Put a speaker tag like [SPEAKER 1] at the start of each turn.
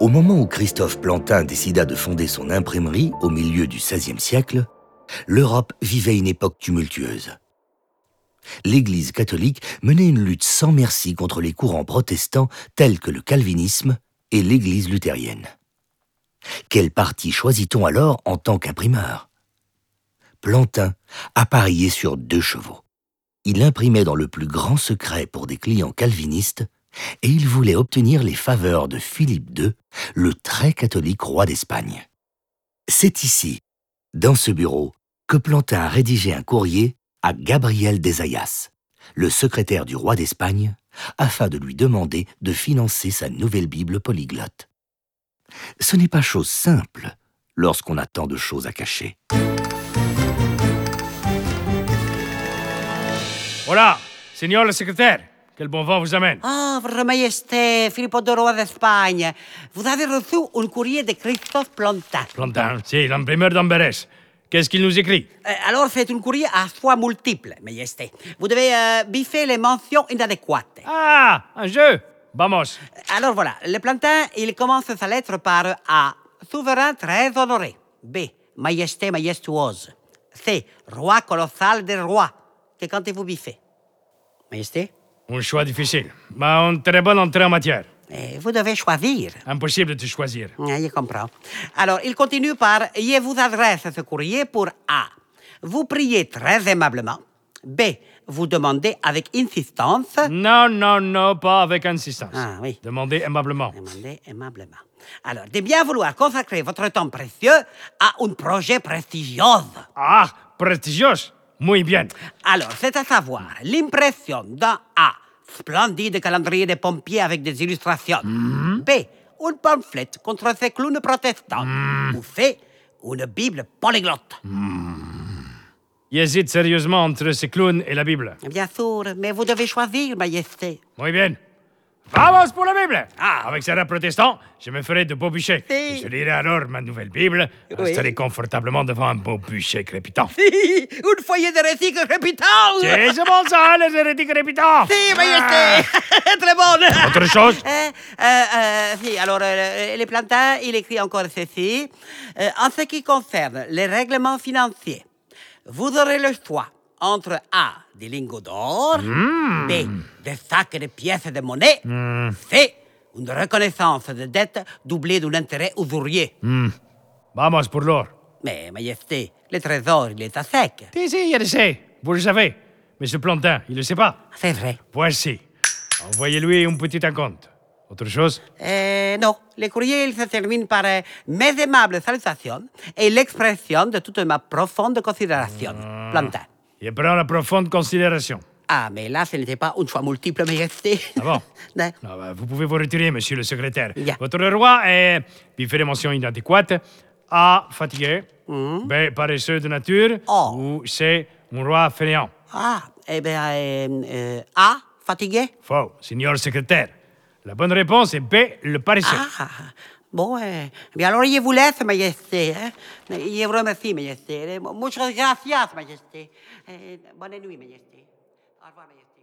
[SPEAKER 1] Au moment où Christophe Plantin décida de fonder son imprimerie au milieu du XVIe siècle, l'Europe vivait une époque tumultueuse. L'Église catholique menait une lutte sans merci contre les courants protestants tels que le calvinisme et l'Église luthérienne. Quel parti choisit-on alors en tant qu'imprimeur Plantin appariait sur deux chevaux. Il imprimait dans le plus grand secret pour des clients calvinistes et il voulait obtenir les faveurs de Philippe II, le très catholique roi d'Espagne. C'est ici, dans ce bureau, que Plantin a rédigé un courrier à Gabriel Desayas, le secrétaire du roi d'Espagne, afin de lui demander de financer sa nouvelle Bible polyglotte. Ce n'est pas chose simple lorsqu'on a tant de choses à cacher.
[SPEAKER 2] Voilà, Seigneur le secrétaire, quel bon vent vous amène.
[SPEAKER 3] Ah, Votre Majesté, Philippe de Roi d'Espagne, vous avez reçu un courrier de Christophe Plantin.
[SPEAKER 2] Plantin, c'est l'imprimeur d'Amberes. Qu'est-ce qu'il nous écrit
[SPEAKER 3] Euh, alors, c'est un courrier à choix multiples, Majesté. Vous devez euh, biffer les mentions inadéquates.
[SPEAKER 2] Ah, un jeu Vamos.
[SPEAKER 3] Alors voilà, le Plantin, il commence sa lettre par A. Souverain très honoré. B. Majesté majestueuse. C. Roi colossal des rois. Que quand vous biffez Majesté
[SPEAKER 2] Un choix difficile, mais une très bonne entrée en matière.
[SPEAKER 3] Eh, Vous devez choisir.
[SPEAKER 2] Impossible de choisir.
[SPEAKER 3] Ah, Je comprends. Alors, il continue par Je vous adresse ce courrier pour A. Vous priez très aimablement. B. Vous demandez avec insistance.
[SPEAKER 2] Non, non, non, pas avec insistance.
[SPEAKER 3] Ah, oui.
[SPEAKER 2] Demandez aimablement.
[SPEAKER 3] Demandez aimablement. Alors, de bien vouloir consacrer votre temps précieux à un projet prestigieux.
[SPEAKER 2] Ah, prestigieux. Muy bien.
[SPEAKER 3] Alors, c'est à savoir l'impression d'un A. Splendide calendrier des pompiers avec des illustrations. B. Une pamphlet contre ces clowns protestants. Ou C. Une Bible polyglotte.
[SPEAKER 2] J'hésite sérieusement entre ces clowns et la Bible.
[SPEAKER 3] Bien sûr, mais vous devez choisir, Majesté.
[SPEAKER 2] Muy bien. Vamos pour la Bible! Ah, avec Sarah protestant, je me ferai de beaux bûchers.
[SPEAKER 3] Si.
[SPEAKER 2] Et Je lirai alors ma nouvelle Bible, installée confortablement devant un beau bûcher crépitant.
[SPEAKER 3] Une foyer de récit
[SPEAKER 2] C'est
[SPEAKER 3] réputable
[SPEAKER 2] ce bon ça, les hérétiques crépitants! Ah.
[SPEAKER 3] Si, Majesté Très bonne
[SPEAKER 2] Autre chose?
[SPEAKER 3] Euh, euh, euh, si, alors, euh, les plantains, il écrit encore ceci. Euh, en ce qui concerne les règlements financiers, vous aurez le choix entre A, des lingots d'or, B, des sacs de pièces de monnaie, C, une reconnaissance de dette doublée d'un intérêt usurier.
[SPEAKER 2] Vamos pour l'or.
[SPEAKER 3] Mais, Majesté, le trésor, il est à sec.
[SPEAKER 2] Si, si, je le sais. Vous le savez. Mais ce plantain, il le sait pas.
[SPEAKER 3] C'est vrai.
[SPEAKER 2] Voici. Envoyez-lui un petit acompte. Autre chose?
[SPEAKER 3] Euh, non, le courrier il se termine par euh, mes aimables salutations et l'expression de toute ma profonde considération. Plantin.
[SPEAKER 2] Je prends la profonde considération.
[SPEAKER 3] Ah, mais là, ce n'était pas une choix multiple, mais resté.
[SPEAKER 2] Ah bon?
[SPEAKER 3] Non.
[SPEAKER 2] Non, bah, vous pouvez vous retirer, monsieur le secrétaire.
[SPEAKER 3] Ya.
[SPEAKER 2] Votre roi est, puis fait des mentions inadéquates, A, fatigué, B, paresseux de nature,
[SPEAKER 3] Mm. Oh.
[SPEAKER 2] ou C, mon roi fainéant.
[SPEAKER 3] Ah, eh bien, euh, euh, A, fatigué
[SPEAKER 2] Faux, seigneur secrétaire. La bonne réponse est B, le paresseux.
[SPEAKER 3] Ah, bon, euh, eh bien, alors, je vous laisse, Majesté. hein. Je vous remercie, Eh, Majesté. Muchas gracias, Majesté. Eh, bonne nuit, Majesté. Au revoir, Majesté.